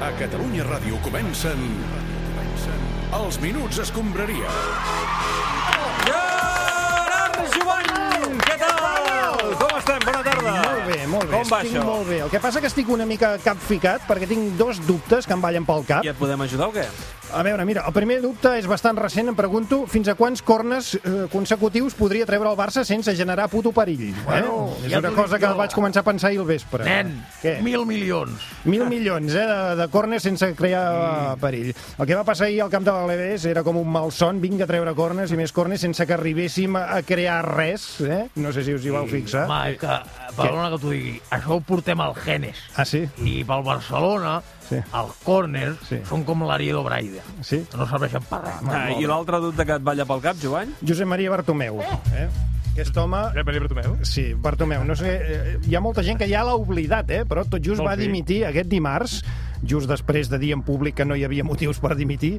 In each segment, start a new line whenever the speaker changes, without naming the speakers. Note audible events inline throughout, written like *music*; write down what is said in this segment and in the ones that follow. A Catalunya Ràdio comencen... comencen Els Minuts Escombraria.
Gerard Jovany! Què tal? Com estem? Bona tarda.
Molt bé, molt bé.
Com va
estic
això?
molt bé. El que passa que estic una mica capficat perquè tinc dos dubtes que em ballen pel cap.
I et podem ajudar o què?
A veure, mira, el primer dubte és bastant recent, em pregunto fins a quants cornes eh, consecutius podria treure el Barça sense generar puto perill. Bueno, eh? És
ja
una
t'ho dic
cosa que
jo.
vaig començar a pensar ahir al vespre.
Nen,
Què?
mil milions.
Mil milions eh, de, de cornes sense crear mm. perill. El que va passar ahir al camp de l'Alevés era com un malson, vinc a treure cornes i més cornes sense que arribéssim a a crear res. Eh? No sé si us hi vau fixar.
Home, és que, eh, perdona que t'ho digui, això ho portem al Genes.
Ah, sí?
I pel Barcelona,
Sí.
el córner,
Sí.
són com l'Ariedo Braida.
Sí?
No serveixen per res.
Ah, I l'altre dubte que et balla pel cap, Jovany?
Josep Maria Bartomeu. Eh? Aquest home...
Josep Eh, Maria Bartomeu?
Sí, Bartomeu. No sé, eh, hi ha molta gent que ja l'ha oblidat, eh? però tot just
Molt
va
bé.
dimitir aquest dimarts, just després de dir en públic que no hi havia motius per dimitir,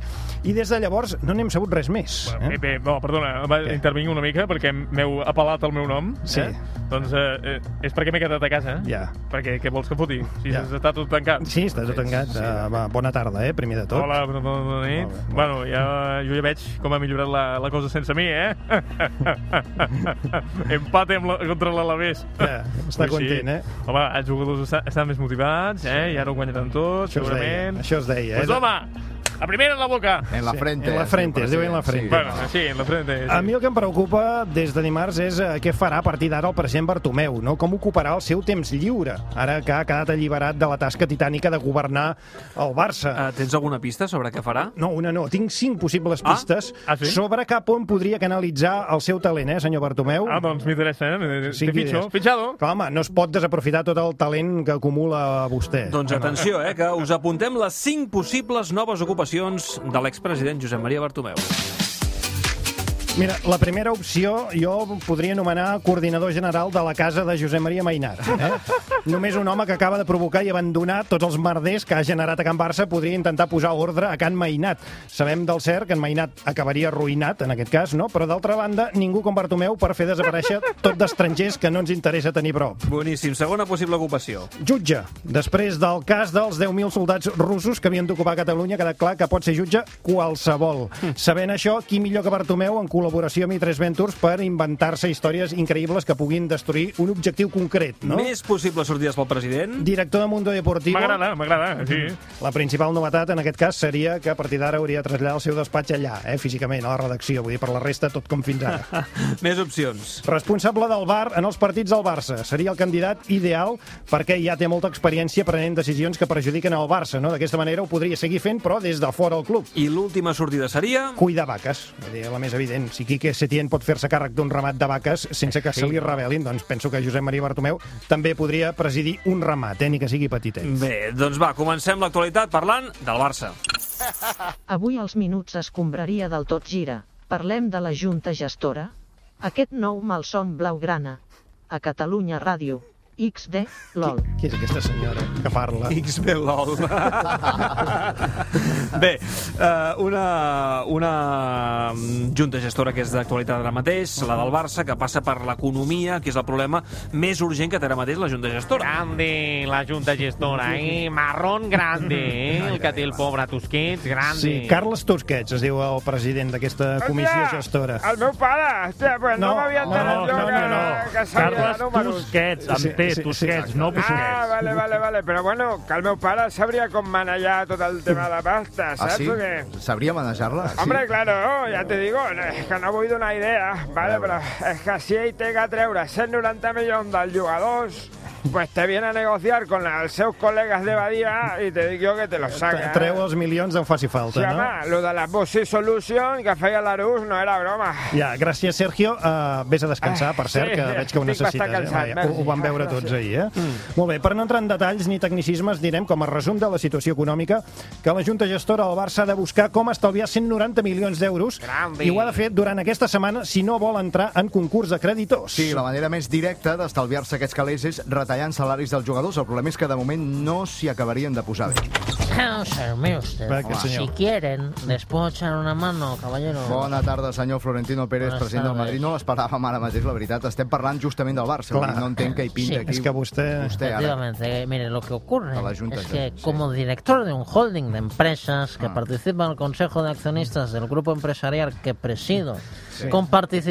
i des de llavors no n'hem sabut res més.
Bé,
Eh?
bé, no, perdona, va,
Què?
intervinc una mica perquè m'heu apel·lat el meu nom.
Sí.
Eh? Doncs eh, eh, és perquè m'he quedat a casa. eh?
Ja.
Perquè què vols que foti? Si
Ja.
ja. està tot tancat.
Sí, està tot tancat. Sí, va, bona tarda, eh, primer de tot.
Hola, bona, bona, bona nit.
Molt bé, molt bé.
bueno, ja, jo ja veig com ha millorat la, la cosa sense mi,
*laughs*
eh? Empate amb la, contra l'Alavés.
Ja, està content, eh?
Home, els jugadors estan, estan més motivats, eh? I ara ho guanyaran tot,
Això es deia,
segurament.
això es deia.
Doncs
eh?
home, a primera en la boca.
En la frente.
en la
eh,
frente, es diu en la
president.
frente.
Bueno, sí, en la frente. Sí.
A mi el que em preocupa des de dimarts és eh, què farà a partir d'ara el president Bartomeu, no? com ocuparà el seu temps lliure, ara que ha quedat alliberat de la tasca titànica de governar el Barça.
Uh, tens alguna pista sobre què farà?
No, una no. Tinc cinc possibles
Ah?
pistes
Ah, sí?
sobre cap on podria canalitzar el seu talent, eh, senyor Bartomeu?
Ah, doncs m'interessa, eh?
Sí,
Sí, Te
qui
fitxo.
és?
Fitxado.
Clar, home, no es pot desaprofitar tot el talent que acumula vostè.
Doncs atenció, eh, que us apuntem les 5 possibles noves ocupacions de l'expresident Josep Maria Bartomeu.
Mira, la primera opció jo podria anomenar coordinador general de la casa de Josep Maria Mainat. Eh? Només un home que acaba de provocar i abandonar tots els merders que ha generat a Can Barça podria intentar posar ordre a Can Mainat. Sabem del cert que en Mainat acabaria arruïnat, en aquest cas, no? Però d'altra banda, ningú com Bartomeu per fer desaparèixer tot d'estrangers que no ens interessa tenir prop.
Boníssim. Segona possible ocupació.
Jutge. Després del cas dels 10.000 soldats russos que havien d'ocupar Catalunya, ha quedat clar que pot ser jutge qualsevol.
Hm.
Sabent això, qui millor que Bartomeu en col·laboració amb I3 Ventures per inventar-se històries increïbles que puguin destruir un objectiu concret,
No?
no?
Més possibles sortides pel president?
Director de Mundo Deportivo.
M'agrada, m'agrada, sí.
Hm. La principal novetat en aquest cas seria que a partir d'ara hauria de traslladar el seu despatx allà, eh, físicament, a la redacció. Vull dir, per la resta, tot com fins ara.
*laughs*
*laughs*
Més opcions.
Responsable del bar en els partits del Barça. Seria el candidat ideal perquè ja té molta experiència prenent decisions que perjudiquen el Barça. No? D'aquesta manera ho podria seguir fent, però des de fora el club.
I l'última sortida seria...
Cuidar vaques, vull dir, la més evident. Si Quique Setién pot fer-se càrrec d'un ramat de vaques sense que se li rebel·lin, doncs penso que Josep Maria Bartomeu també podria presidir un ramat, eh, ni que sigui petitet.
Bé, doncs va, comencem l'actualitat parlant del Barça.
*laughs* Avui als minuts escombraria del tot gira. Parlem de la Junta Gestora. Aquest nou malson blaugrana. A Catalunya Ràdio. XD, LOL.
Qui és aquesta senyora que parla?
XB LOL. Bé, eh, una, una mm, junta gestora que és d'actualitat ara mateix, la del Barça, que passa per l'economia, que és el problema més urgent que té ara mateix la junta gestora.
Grande la junta gestora, eh? Marrón *laughs* grande, eh? El que té el pobre Tusquets, grande.
Sí, Carles Tusquets es diu el president d'aquesta comissió gestora.
El meu pare! Hòstia, pues no,
No,
no m'havia
no,
enterat jo
no,
que,
no,
no.
que sabia
Carles
de números.
Tusquets, amb
Sí,
T,
sí, sí,
Tusquets,
exacte.
no
Ah,
Busquets.
vale, vale, vale. Però bueno, que el meu pare sabria com manejar tot el tema de pasta,
Ah,
saps
sí?
o què?
Sabria manejar-la? Sí.
Hombre, claro, ya te digo, no, és que no vull donar idea, vale, però és que si ell té que treure 190 milions dels jugadors, pues te viene a negociar con els seus col·legues de Badia i te dic jo que te los saca. eh?
Treu els milions d'on faci
Sí,
falta, no?
home, lo de la Bossy Solution que feia l'Arús no era broma.
Ja, gràcies, Sergio. Uh, vés a descansar, per
Ah,
cert,
sí,
que
ja,
veig que ho
estic
necessites.
bastant cansat,
eh? Vaja, ho,
merci.
ho van veure tots ahir, eh? Mm. Molt bé, per no entrar en detalls ni tecnicismes, direm, com a resum de la situació econòmica, que la Junta Gestora del Barça ha de buscar com estalviar 190 milions d'euros
Grande.
i ho ha de fer durant aquesta setmana si no vol entrar en concurs de creditors.
Sí, la manera més directa d'estalviar-se aquests calés és retallant salaris dels jugadors. El problema és que de moment no s'hi acabarien de posar bé.
Serme usted.
Va, que senyor.
Si quieren, les puedo echar una mano, caballero.
Bona tarda, senyor Florentino Pérez,
Bones
president del
tardes.
Madrid. No l'esperàvem ara mateix, la veritat. Estem parlant justament del Barça.
Clar.
Clar. No entenc què hi pinta
Sí.
aquí.
És que vostè-
Vostè ara...
Efectivamente, eh, mire, lo que ocurre
A la Junta,
es que como director de un holding de empresas que participa en el Consejo de Accionistas del grupo empresarial que presido,
Sí.
con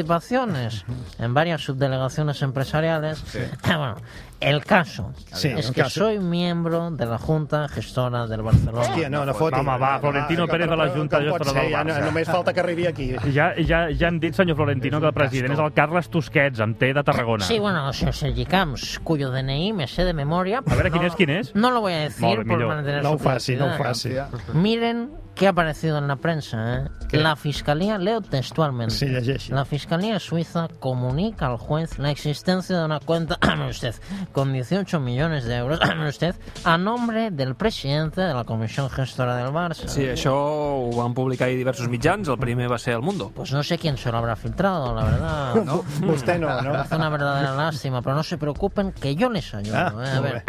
participaciones en varias subdelegaciones empresariales, *laughs* ah,
Sí.
bueno, el caso
Sí,
es
el
que
caso.
soy miembro de la Junta Gestora del Barcelona.
Hòstia, no, no foti.
Home, va, Florentino
que-
Pérez de la
que-
Junta
que
de
pot
Gestora
ser,
del
ja, no-
Barça.
Només falta que arribi aquí.
Ja, ja, ja han dit, senyor Florentino, que el president és el Carles Tusquets, amb T de Tarragona.
Sí, bueno, Sir Sergi Camps, cuyo DNI me sé de memoria.
A veure,
pero
quin
no-
és, quin és?
No lo voy a decir
Molt bé,
por
millor.
mantener
No
su
ho faci, no ho
privacidad.
faci.
Miren qué ha aparecido en la prensa. ¿eh? La Fiscalía, leo textualmente. La Fiscalía Suiza comunica al juez la existencia de una cuenta *coughs* usted, con 18 millones de euros *coughs* usted, a nombre del presidente de la Comisión Gestora del Barça.
Sí, això ho van publicar ahir diversos mitjans. El primer va ser El Mundo.
Pues no sé quién se lo habrá filtrado, la verdad.
*laughs* No,
usted no, *laughs* ¿no?
Es una verdadera lástima, pero no se preocupen que yo les ayudo.
Ah,
¿eh? A
muy
ver,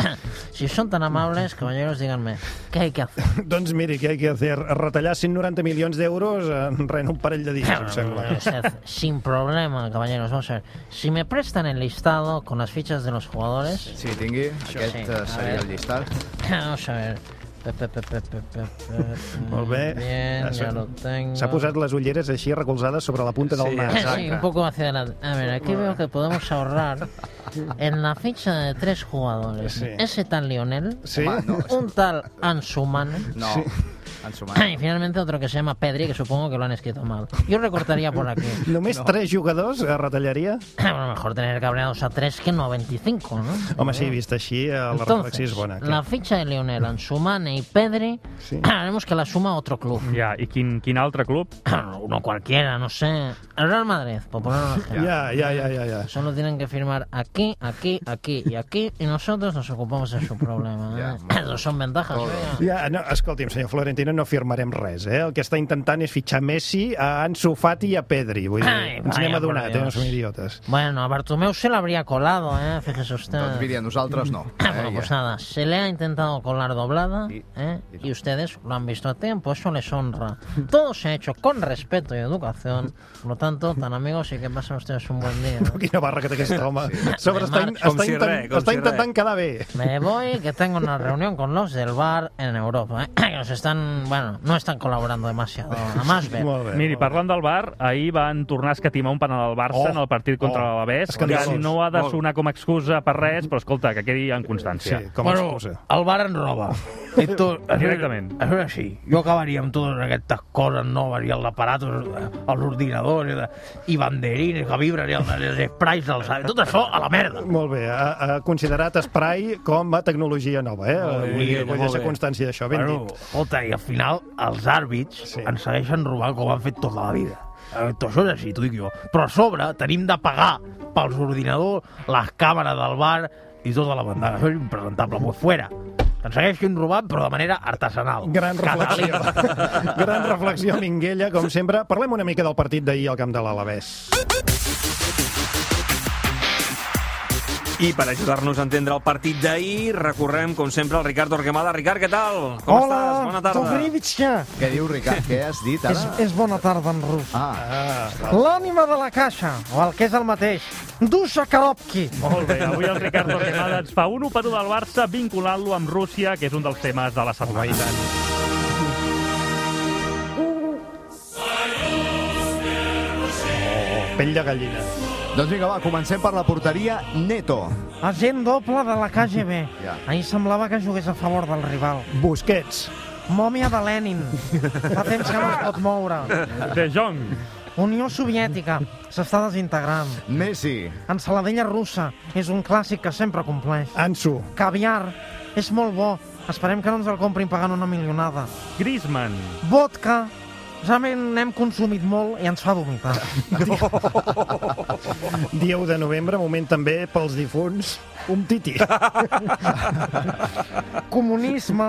si son tan amables, caballeros, díganme, ¿qué hay que
*laughs*
hacer?
*laughs* Doncs miri, què hay que hacer? Retallar 190 milions d'euros en res, en un parell de dies, em
Usted,
sembla.
Pues, eh, sin problema, caballeros, vamos a ver. Si me prestan el listado con las fichas de los jugadores...
Sí, tingui. Aquest eh, seria el llistat.
Vamos a ver. Pe, pe, pe, pe, pe, pe, pe.
Pues
Molt bé.
Mm, Bien, ya lo tengo.
S'ha posat les ulleres així recolzades sobre la punta del nas.
Sí, un poco hacia adelante. A ver, aquí veo que podemos ahorrar en la ficha de tres jugadores.
Sí.
Ese tal Lionel,
Sí. Home, no.
un tal Ansuman.
No, sí. en sumar.
*coughs* Y finalmente otro que se llama Pedri, que supongo que lo han escrito mal. Yo recortaría por
*laughs*
aquí.
Només tres jugadors eh, retallaria?
*clears throat* Bueno, mejor tener cabreados a tres que no a 25, ¿no?
Home, sí, vist així, eh, la reflexió
Entonces,
és bona.
la ficha de Lionel, Ansumane y Pedri, *clears throat* haremos que la suma otro club.
Ja, i quin, quin altre club?
*clears throat* Uno cualquiera, no sé. El Real Madrid, por poner un ejemplo.
Ya, ya, ya, ya, ya.
Solo tienen que firmar aquí, aquí, aquí y aquí, y nosotros nos ocupamos de su problema. ¿eh? Eso son ventajas. ¿eh? oiga.
Ja, no, escolti'm, senyor Florentino, no firmarem res, eh? El que està intentant és fitxar Messi, a Ansu Fati i a Pedri. Vull dir,
Ai,
ens n'hem
vaya, por
adonat, eh? No
Dios.
som idiotes.
Bueno, a Bartomeu se le habría colado, ¿eh? Fíjese usted.
Doncs miri, a nosaltres no.
*clears throat* Bueno, pues nada, se le ha intentado colar doblada ¿eh? y ustedes lo han visto a tiempo, eso les honra. Todo se ha hecho con respeto y educación, por lo tanto, tan amigos y que pasen ustedes un buen día. ¿no?
*laughs* Quina barra que té aquest home.
Sí.
A Sobre està, in-
Com
està,
si
intent,
res, com
està
si
intentant
res.
quedar bé.
Me voy, que tengo una reunión con los del bar en Europa, ¿eh? *clears throat* que nos están, bueno, no están colaborando demasiado, a más ver.
Miri, parlant del bar, ahir van tornar a escatimar un penal al Barça
Oh,
en el partit contra
oh,
oh, l'Alavés, que
escandalós.
no ha de
Molt.
sonar com a excusa per res, però escolta, que quedi en constància.
bueno, el bar en
*laughs*
roba. I tu,
Directament.
A veure, sí, jo acabaria amb totes aquestes coses noves i els aparatos, els ordinadors, i, de, i banderines que vibren, i els, els *laughs* sprays, els, tot això a la merda.
Molt bé, ha, ha considerat Spray com a tecnologia nova, eh?
Molt bé,
Vull dir, vull
molt
deixar
bé.
constància d'això, ben
Bueno,
dit.
Escolta, i al final els àrbits sí. ens segueixen robant com han fet tota la vida. Eh, Tot això és així, t'ho dic jo. Però a sobre tenim de pagar pels ordinadors, les càmeres del bar i tota la bandada. Això és impresentable, pues fuera. Que ens segueixin robant, però de manera artesanal.
Gran reflexió. Gran reflexió, Minguella, com sempre. Parlem una mica del partit d'ahir al camp de l'Alavés.
I per ajudar-nos a entendre el partit d'ahir, recorrem, com sempre, al Ricard Torquemada. Ricard, què tal? Com estàs? Bona tarda.
Dobrivitska.
Què diu, Ricard? Què has dit
És,
ara?
és bona tarda en rus.
Ah.
L'ànima de la caixa, o el que és el mateix, Dusha Karopki.
Molt bé, avui el Ricard Torquemada ens fa un 1 per 1 del Barça vinculant-lo amb Rússia, que és un dels temes de la setmana.
Pell de gallina.
Doncs vinga, va, comencem per la porteria Neto.
Agent doble de la KGB.
Ja.
Ahir semblava que jugués a favor del rival.
Busquets.
Mòmia de Lenin. Fa temps que no es pot moure.
De Jong.
Unió Soviètica. S'està desintegrant.
Messi.
Ensaladella russa. És un clàssic que sempre compleix.
Ansu.
Caviar. És molt bo. Esperem que no ens el comprin pagant una milionada.
Griezmann.
Vodka. Ja n'hem consumit molt i ens fa
*laughs*
vomitar.
Dia 1 de novembre, moment també pels difunts, un titi.
Comunisme.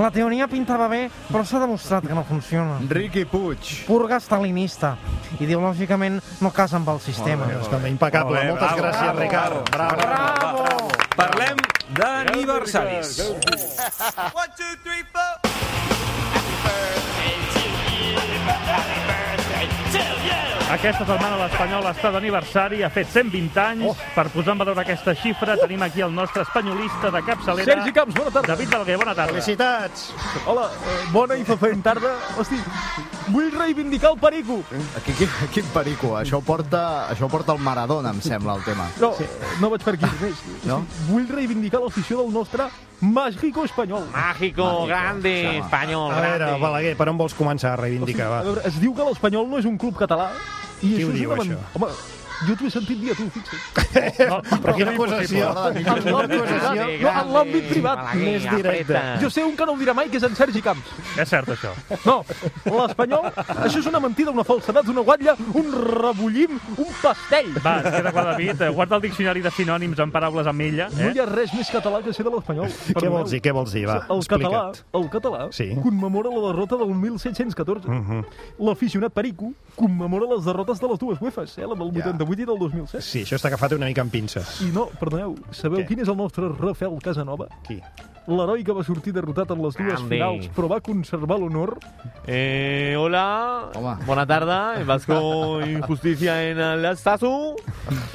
La teoria pintava bé, però s'ha demostrat que no funciona.
Ricky Puig.
Purga estalinista. Ideològicament no casa amb el sistema.
Molt bé, molt bé. Impecable. Molt bé, Moltes bravo, gràcies, bravo, Ricard.
Bravo. Parlem d'aniversaris.
One, two, three, four.
Aquesta setmana l'Espanyol està d'aniversari, ha fet 120 anys.
Oh.
Per posar en valor aquesta xifra tenim aquí el nostre espanyolista de capçalera.
Sergi Camps, bona tarda.
David Dalguer, bona tarda.
Felicitats.
Hola, eh, bona i fefent tarda. Hosti, vull reivindicar el perico.
Aquí, aquí, quin perico, això ho porta, això ho porta el Maradona, em sembla, el tema.
No, sí. no vaig per aquí. Més.
No?
Vull reivindicar l'afició del nostre màgico espanyol.
Mágico, grande, espanyol,
A veure,
grande.
Balaguer, per on vols començar a reivindicar?
A
Va.
veure, es diu que l'espanyol no és un club català.
Qui
I això
ho
és
diu,
una men-
això?
Home, jo t'ho he sentit dir a tu, fixa't.
*laughs* Però quina acusació.
En l'àmbit privat,
Acusació.
no, en l'àmbit privat.
Balaguer,
Més directe.
apreta.
Jo sé un que no ho dirà mai, que és en Sergi Camps.
És cert, això.
No, l'espanyol, això és una mentida, una falsedat, una guatlla, un rebullim, un pastell.
Va, es queda clar, David. Eh, Guarda el diccionari de sinònims en paraules amb ella.
No
Eh?
hi ha res més català que ser de l'espanyol.
Què vols dir, què vols dir, va,
El català,
explica't.
el català
Sí.
commemora la derrota del 1714.
Mhm.
L'aficionat perico commemora les derrotes de les dues UEFAs, eh? la del 88 i del 2007.
Sí, això està agafat una mica amb pinces.
I no, perdoneu, sabeu
Què?
quin és el nostre Rafael Casanova?
Qui?
L'heroi que va sortir derrotat en les dues
Grande.
finals, però va conservar l'honor.
Eh, hola,
Hola.
buena tarde. El *laughs* Vasco Injusticia en *laughs* Alastazu.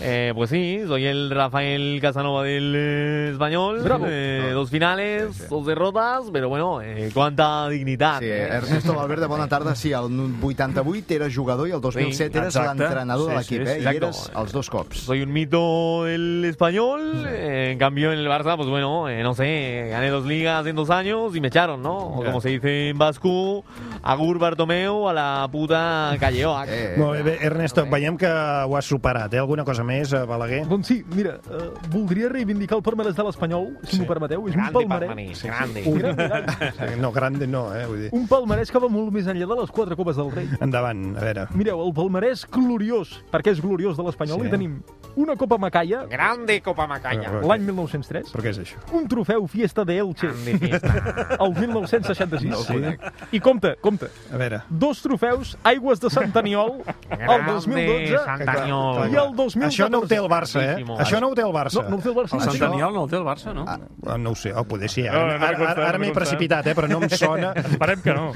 Eh, pues sí, soy el Rafael Casanova del eh, Español.
Bravo.
Eh, dos finales, dos derrotas, pero bueno, eh, cuánta dignidad.
Sí,
eh.
Ernesto Valverde, bona tarda. Sí, el 88 era jugador i el 2007 eres
exacte. Sí,
l'entrenador de l'equip,
sí,
eh?
sí,
I
exacte.
eres els dos cops.
Soy un mito del español. eh, en cambio, en el Barça, pues bueno, eh, no sé, gané dos ligas en dos años y me echaron, ¿no? O como se dice en vasco, Agur Bartomeu a la puta Calleoac.
Molt bé, bé, Ernesto, veiem que ho has superat, eh? Alguna cosa més, eh, Balaguer?
Doncs sí, mira, eh, voldria reivindicar el palmarès de l'Espanyol, si m'ho permeteu. És un palmarès. Mira, mira,
*laughs* No, grande no, eh? Vull dir.
Un palmarès que va molt més enllà de les quatre copes del rei.
Endavant, a veure.
Mireu, el palmarès gloriós, perquè és gloriós de l'Espanyol,
Sí.
sí. i tenim una Copa Macaia,
Grande Copa Macaña.
l'any 1903,
Però què és això?
un trofeu Fiesta de Elche, *laughs* el 1966.
No ho conec.
I compte, compte,
A veure.
dos trofeus Aigües de Sant Aniol, el
Grande
2012
Sant Aniol.
i el 2014.
Això no ho té el Barça, eh?
Boníssimo.
Això no ho té el Barça.
No, no ho té el Barça.
El
Això-
Sant Aniol no el té el Barça, no?
Ah, No ho sé, oh, poder sí.
No, no,
Ara,
no
ara,
consta,
ara, ara
no
m'he
consta.
precipitat, eh? Però no em sona...
Esperem que no.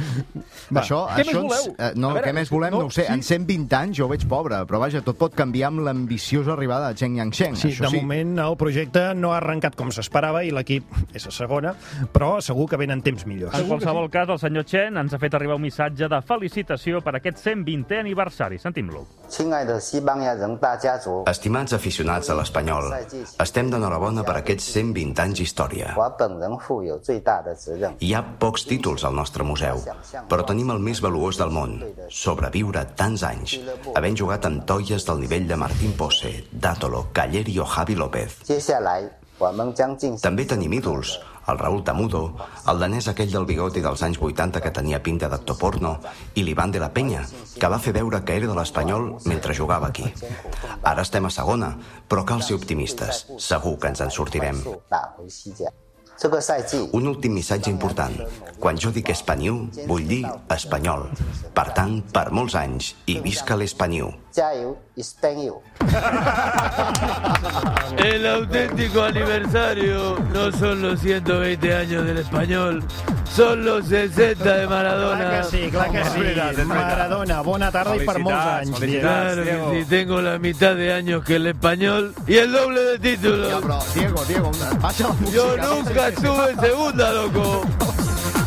Va.
Això,
Què
això
més
ens-
voleu?
eh, no,
A veure,
què més volem? No,
no,
ho sé.
sí.
En 120 anys jo ho veig pobre, però vaja, tot pot canviar amb l'ambiciosa arribada de Cheng Yang-sheng.
Sí,
això
de
sí.
moment el projecte no ha arrencat com s'esperava i l'equip és a segona, però segur que venen temps millors.
En qualsevol cas, el senyor Chen ens ha fet arribar un missatge de felicitació per aquest 120è aniversari. Sentim-lo.
亲爱的西班牙人大家族，
Estimats aficionats de l'Espanyol, estem d'enhorabona per aquests 120 anys d'història.
我本人负有最大的责任。
Hi ha pocs títols al nostre museu, però tenim el més valuós del món, sobreviure tants anys, havent jugat amb toies del nivell de Martín Posse, Dátolo, Calleri o Javi López.
接下来，我们将进行
També tenim ídols, el Raúl Tamudo, el danès aquell del bigoti dels anys 80 que tenia pinta d'actor porno, i l'Ivan de la Penya, que va fer veure que era de l'Espanyol mentre jugava aquí. Ara estem a segona, però cal ser optimistes. Segur que ens en sortirem.
打回西甲。这个赛季，
Un últim missatge important. Quan jo dic espanyol, vull dir espanyol. Per tant, per molts anys, i visca l'espanyol.
加油 s p a n o
El auténtico aniversario no son los 120 años del español, son los 60 de Maradona.
Clar que sí, clar que sí. Maradona, bona tarda i per molts anys.
Claro que sí, tengo la mitad de años que el español y el doble de títulos.
Diego, Diego, una- baixa la música.
Yo nunca estuve en segunda,
*laughs*
loco.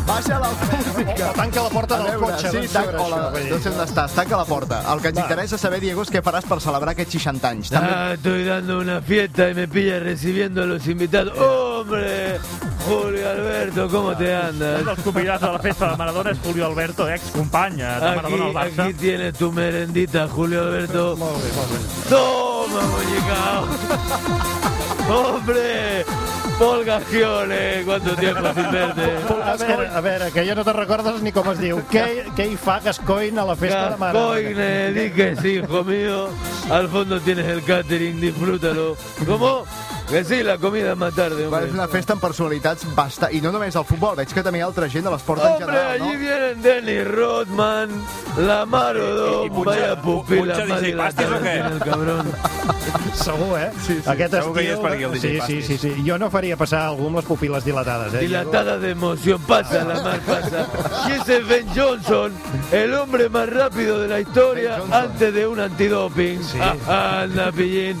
Baixa la música.
Tanca la porta
A
del
veure,
cotxe,
Sí,
doncs,
tan...
sobre
Hola,
això, vull dir.
no sé on estàs, tanca la porta. El que ens interessa saber, Diego, és què faràs per celebrar aquests 60 anys.
Ah, estoy dando una fiesta y me pilla recibiendo a los invitados. ¡Hombre! Julio Alberto, ¿cómo te
Ah,
andas?
Un dels convidats de la festa de Maradona és Julio Alberto, excompany eh, de
Aquí,
Maradona al Barça.
aquí tienes tu merendita, Julio Alberto. ¡Toma, muñeca! ¡Hombre! Polga Gione, ¿cuánto tiempo sin verte?
A veure, a veure, que jo no te recordes ni com es
*laughs*
diu. Què, què hi fa Gascoigne a la festa de Maradona?
Gascoigne, di que sí, hijo mío. Al fondo tienes el catering, disfrútalo. ¿Cómo? Que sí, la comida más tarde,
Va,
hombre.
és una festa amb personalitats basta... I no només el futbol, veig que també hi ha altra gent de l'esport en
Hombre,
general, no?
allí vienen Dennis Rodman, la Marodón, vaya pupila
punxa
más
DJ Pastis
dilatada
o què?
tiene el cabrón.
Segur, eh?
Sí, sí,
Aquest
segur que hi
estiu...
és per aquí el DJ
sí, sí, sí, sí. Jo no faria passar algú amb les pupil·les dilatades, eh?
Dilatada de emoción, pasa la mar, pasa. Y ese Ben Johnson, el hombre más rápido de la historia antes de un antidoping. Ah, Anda, pillín.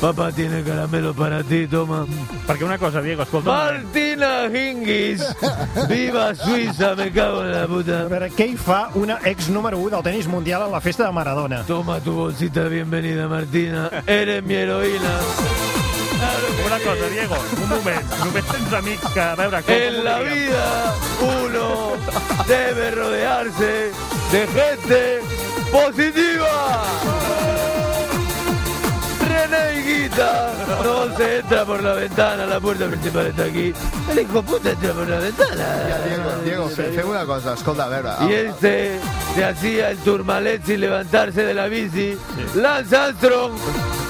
Papá tiene caramelo para ti, toma.
Perquè una cosa, Diego, escolta...
Martina Hingis, viva Suïssa, me cago en la puta.
A veure, què hi fa una ex número 1 del tenis mundial a la festa de Maradona?
Toma tu bolsita de bienvenida, Martina. Eres mi heroína.
Una cosa, Diego, un moment. Només tens amics que, a veure... Com
En la vida uno debe rodearse de gente positiva. René Higuita no se entra por la ventana, la puerta principal está aquí. El hijo puta entra por la ventana.
Diego, Diego, fe- fem una cosa, escolta, a veure...
Y este se hacía el turmalet sin levantarse de la bici. Lance Armstrong,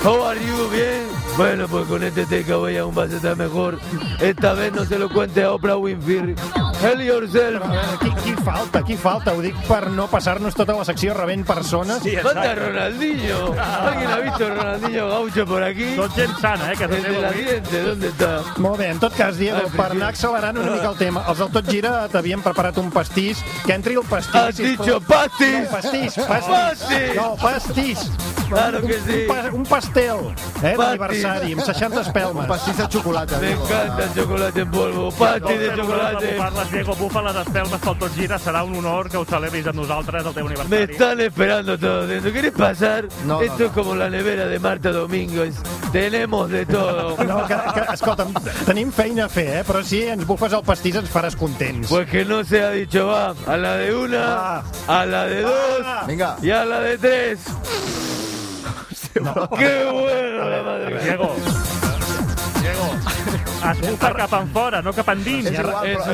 how are you? Bien. Bueno, pues con este takeaway aún vas a estar mejor. Esta vez no se lo cuente a Oprah Winfrey. Hell yourself.
Qui, qui falta, qui falta? Ho dic per no passar-nos tota la secció rebent persones.
Falta Ronaldinho. ¿Alguien ha visto a Ronaldinho Gaucho por aquí?
Son gente sana, ¿eh? Que
El de la diente, ¿dónde está?
Molt bé, en tot cas, Diego, per anar accelerant una mica el tema, els del Tot Gira t'havien preparat un pastís, que entri el pastís...
Has
sisplau.
dicho pastis.
No, pastís, pastís!
Pastis.
No, pastís!
Claro que
Un-
sí.
Un, pas- un pastel, eh,
Pastis.
d'aniversari, amb 60 espelmes.
Un pastís de xocolata,
Me encanta el chocolate en polvo. Pati de chocolate.
Parles, Diego, bufa les espelmes pel tot gira. Serà un honor que ho celebris amb nosaltres el teu
Me
aniversari.
están esperando todos dentro. ¿Quieres pasar?
No, no,
Esto es como la nevera de Marta Domingos. Tenemos de todo.
*laughs*
No, que, que, escolta'm, tenim feina a fer, eh? però si ens bufes el pastís ens faràs contents.
Pues que no se ha dicho va. A la de una, a la de dos y a la de tres. *laughs* ¡Qué bueno! La madre.
Diego, Diego, es bufa cap en fora, no cap endins.
És igual, però és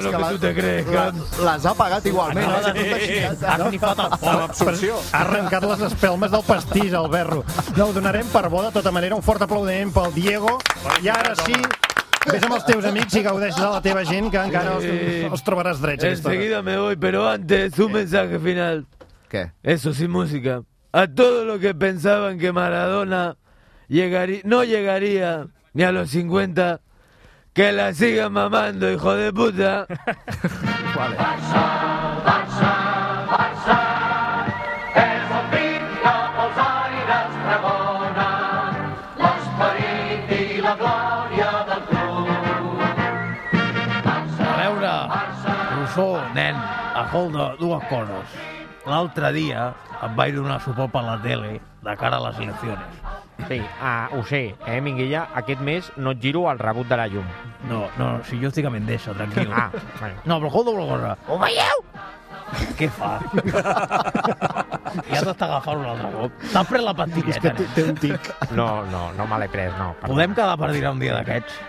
que la- la- Les ha pagat igualment.
Ah,
No,
eh?
no,
Tot així, ja està.
Ha arrencat les espelmes del pastís, el berro. No, ho donarem per bo, de tota manera. Un fort aplaudiment pel Diego. I ara sí, vés amb els teus amics i gaudeix de la teva gent, que encara
Eh,
els, els trobaràs drets. aquesta hora.
Enseguida me voy, pero antes un mensaje final.
¿Qué?
Eso sin música. A todos los que pensaban que Maradona llegaría, no llegaría ni a los 50, que la sigan mamando, hijo de puta.
A veure, Rousseau, nen, escolta, dues coses. L'altre dia em vaig donar suport per la tele de cara a les eleccions.
Sí, ah, ho sé, eh, Minguella? Aquest mes no et giro el rebut de la llum.
No, no, si jo estic a Mendesa, tranquil.
Ah, bueno.
No, però escolta una cosa. Ho veieu? Què fa? ja t'està agafant un altre cop. T'has pres la
És que
pastilleta.
té, té un tic.
No, no, no me l'he pres, no. Perdó.
Podem quedar per dinar un dia d'aquests?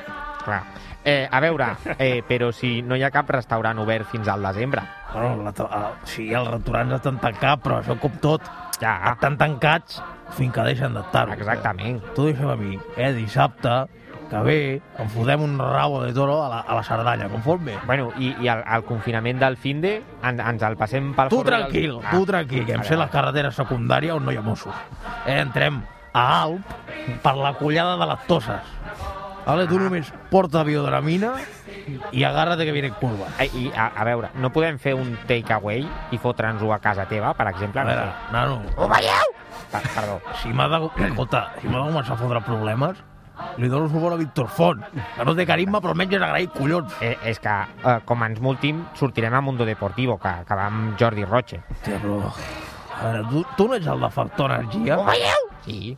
Clar. Eh, a veure, eh, però si no hi ha cap restaurant obert fins al desembre.
Bueno, la, a, sí, els restaurants estan tancats, però això com tot, ja. estan tancats fins que deixen d'estar-ho. Exactament. Tu deixa'm a mi, eh, dissabte, que ve, em fotem un rabo de toro a la, a la Cerdanya, conforme.
Bueno, i, i el, el confinament del finde en, ens el passem pel...
Tu
forn del-
tranquil, tu tranquil, que em
vale,
sé
vale.
les carreteres secundàries on no hi ha Mossos. Eh, entrem a Alp per la collada de les Toses. Vale,
Ah.
tu només porta biodramina i agarra't que viene curva.
Ai, I, a, a veure, no podem fer un takeaway i fotre'ns-ho a casa teva, per exemple?
A
No
veure,
sé.
nano...
Ho veieu? Per, perdó.
Si m'ha de... Escolta, si m'ha de començar a fotre problemes, li dono suport a Víctor Font, que no té carisma, però almenys és agraït, collons.
Eh, és que, eh, com ens multim, sortirem a Mundo Deportivo, que, que va amb Jordi Roche.
Hòstia, però... A veure, tu, tu no ets el de Factor Energia?
Ho veieu? Sí.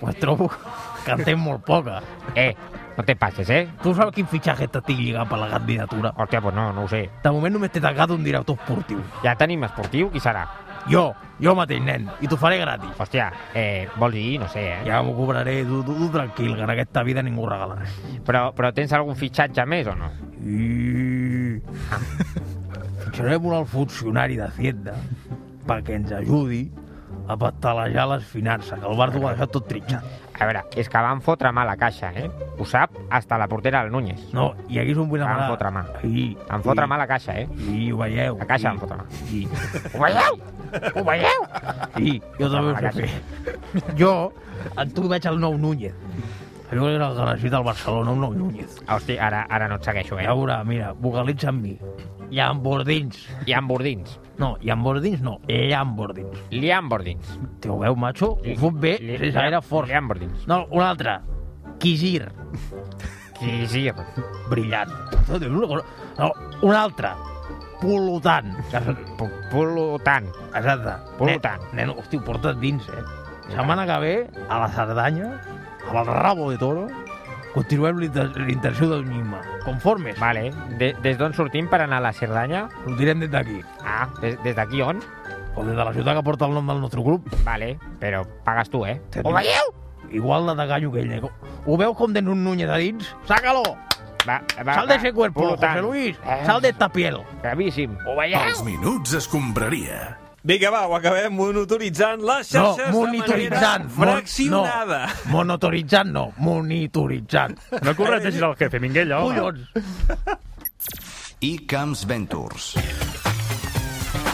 Pues trobo que en tens molt poca.
Eh, no te passes, eh?
Tu saps quin fitxatge t'estic lligat per la candidatura?
Hòstia, pues no, no ho sé.
De moment només t'he tancat un director esportiu.
Ja tenim esportiu, qui serà?
Jo, jo mateix, nen, i t'ho faré gratis.
Hòstia, eh, vols dir, no sé, eh?
Ja m'ho cobraré, tu, tu, tu tranquil, que en aquesta vida ningú regala res.
Però, però tens algun fitxatge més o no?
I... Fitxarem un alt funcionari d'Hacienda perquè ens ajudi a patalejar les finances, que el Barça ho ha deixat tot trinxat.
A veure, és que van fotre mà a la caixa, eh? Ho sap hasta la portera del Núñez.
No, i aquí és on vull
Van
demanar-
fotre mà.
I,
Van fotre
i-
mà a la caixa, eh?
I ho veieu.
La caixa
i-
van fotre mà.
I,
Ho veieu? Ho veieu?
I jo també ho
La
sé
caixa.
fer. Jo, en tu veig el nou Núñez. Jo era el que necessita el Barcelona, un nou Núñez.
Hosti, ara, ara no et segueixo, eh?
Ja veurà, mira, vocalitza amb mi. Llambordins.
Llambordins.
No, Llambordins no, Llambordins.
Llambordins.
Te ho veu, macho? Ho fot bé,
Li-
sense gaire força.
Llambordins.
No, un altre. Quisir.
Quisir.
Brillant. No, dius una cosa- No, un altre. Polotant.
Polotant.
Exacte.
Polotant.
Nen, nen, hòstia, ho porta't dins, eh? Setmana que ve, a la Cerdanya, al rabo de toro, continuem l'inter- l'interció del Nima. Conformes?
Vale. De, des d'on sortim per anar a la Cerdanya?
Sortirem des d'aquí.
Ah, des des d'aquí on?
O des de la ciutat que porta el nom del nostre grup.
Vale, però pagues tu, eh? Ho veieu?
Igual la de gallo que ell, eh? Ho veu com tens un Núñez a dins? Sácalo!
Va, va,
Sal de
va,
ese cuerpo,
polotant.
José Luis. Sal de esta piel.
Gravíssim. Ho veieu?
Els minuts escombraria.
Vinga, va, ho acabem monitoritzant les
No,
xarxes
monitoritzant.
de manera
Mon-
fraccionada.
No, monitoritzant no, monitoritzant.
No corregeixis el jefe, Minguell, home.
Collons.
I Camps Ventures.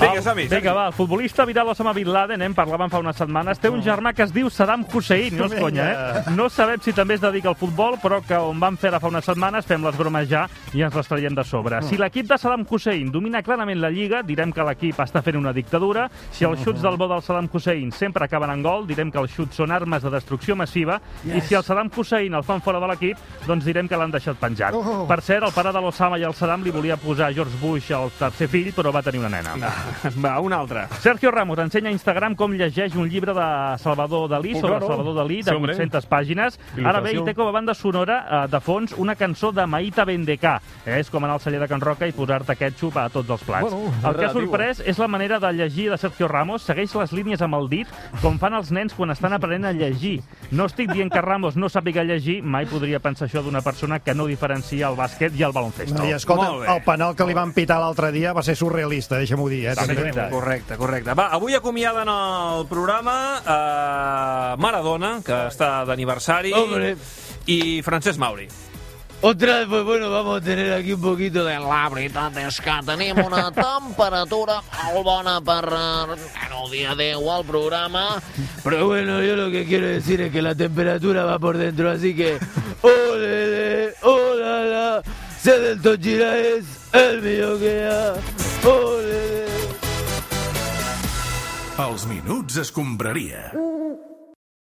Vinga, som Vinga, va, el futbolista Vidal Osama Bin Laden, eh, en parlàvem fa unes setmanes, té un germà que es diu Saddam Mm. Hussein, no és conya, eh? No sabem si també es dedica al futbol, però que on vam fer ara fa unes setmanes fem les bromes ja i ens les traiem de sobre. Si l'equip de Saddam Hussein domina clarament la Lliga, direm que l'equip està fent una dictadura. Si els xuts del bo del Saddam Hussein sempre acaben en gol, direm que els xuts són armes de destrucció massiva. I
Yes.
si el Saddam Hussein el fan fora de l'equip, doncs direm que l'han deixat penjat.
Oh.
Per cert, el pare de l'Osama i el Saddam li volia posar George Bush al tercer fill, però va tenir una nena.
Ah, Va, un altre.
Sergio Ramos ensenya a Instagram com llegeix un llibre de Salvador Dalí,
Oh,
sobre
claro.
Salvador Dalí, de
Sí, hombre.
800 pàgines. Ara ve i
Il·lustració.
té com a banda sonora eh, de fons una cançó de Maïta Bendecà. Eh, és com anar al celler de Can Roca i posar-te ketchup a tots els plats.
Bueno,
el que ha
relativo.
sorprès és la manera de llegir de Sergio Ramos. Segueix les línies amb el dit, com fan els nens quan estan aprenent a llegir. No estic dient que Ramos no sàpiga llegir, mai podria pensar això d'una persona que no diferencia el bàsquet i el baloncesto.
No, I escolta, el penal que li van pitar l'altre dia va ser surrealista, deixa'm-ho dir. Eh? també.
Correcte, correcte. Va, avui acomiaden el programa eh, Maradona, que està d'aniversari,
Hombre.
i Francesc Mauri.
Ostras, pues bueno, vamos a tener aquí un poquito de la veritat
és que tenim
*laughs*
una temperatura molt bona per eh, en el dia 10 al programa.
Pero bueno, yo lo que quiero decir es que la temperatura va por dentro, así que. ¡Ole, hola, la! Sé del Tochira es el mío que ha. ¡Ole!
Els minuts escombraria.
Mm.